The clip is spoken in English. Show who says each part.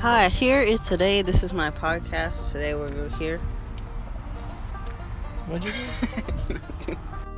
Speaker 1: Hi, here is today. This is my podcast. Today we're here.
Speaker 2: What'd you say?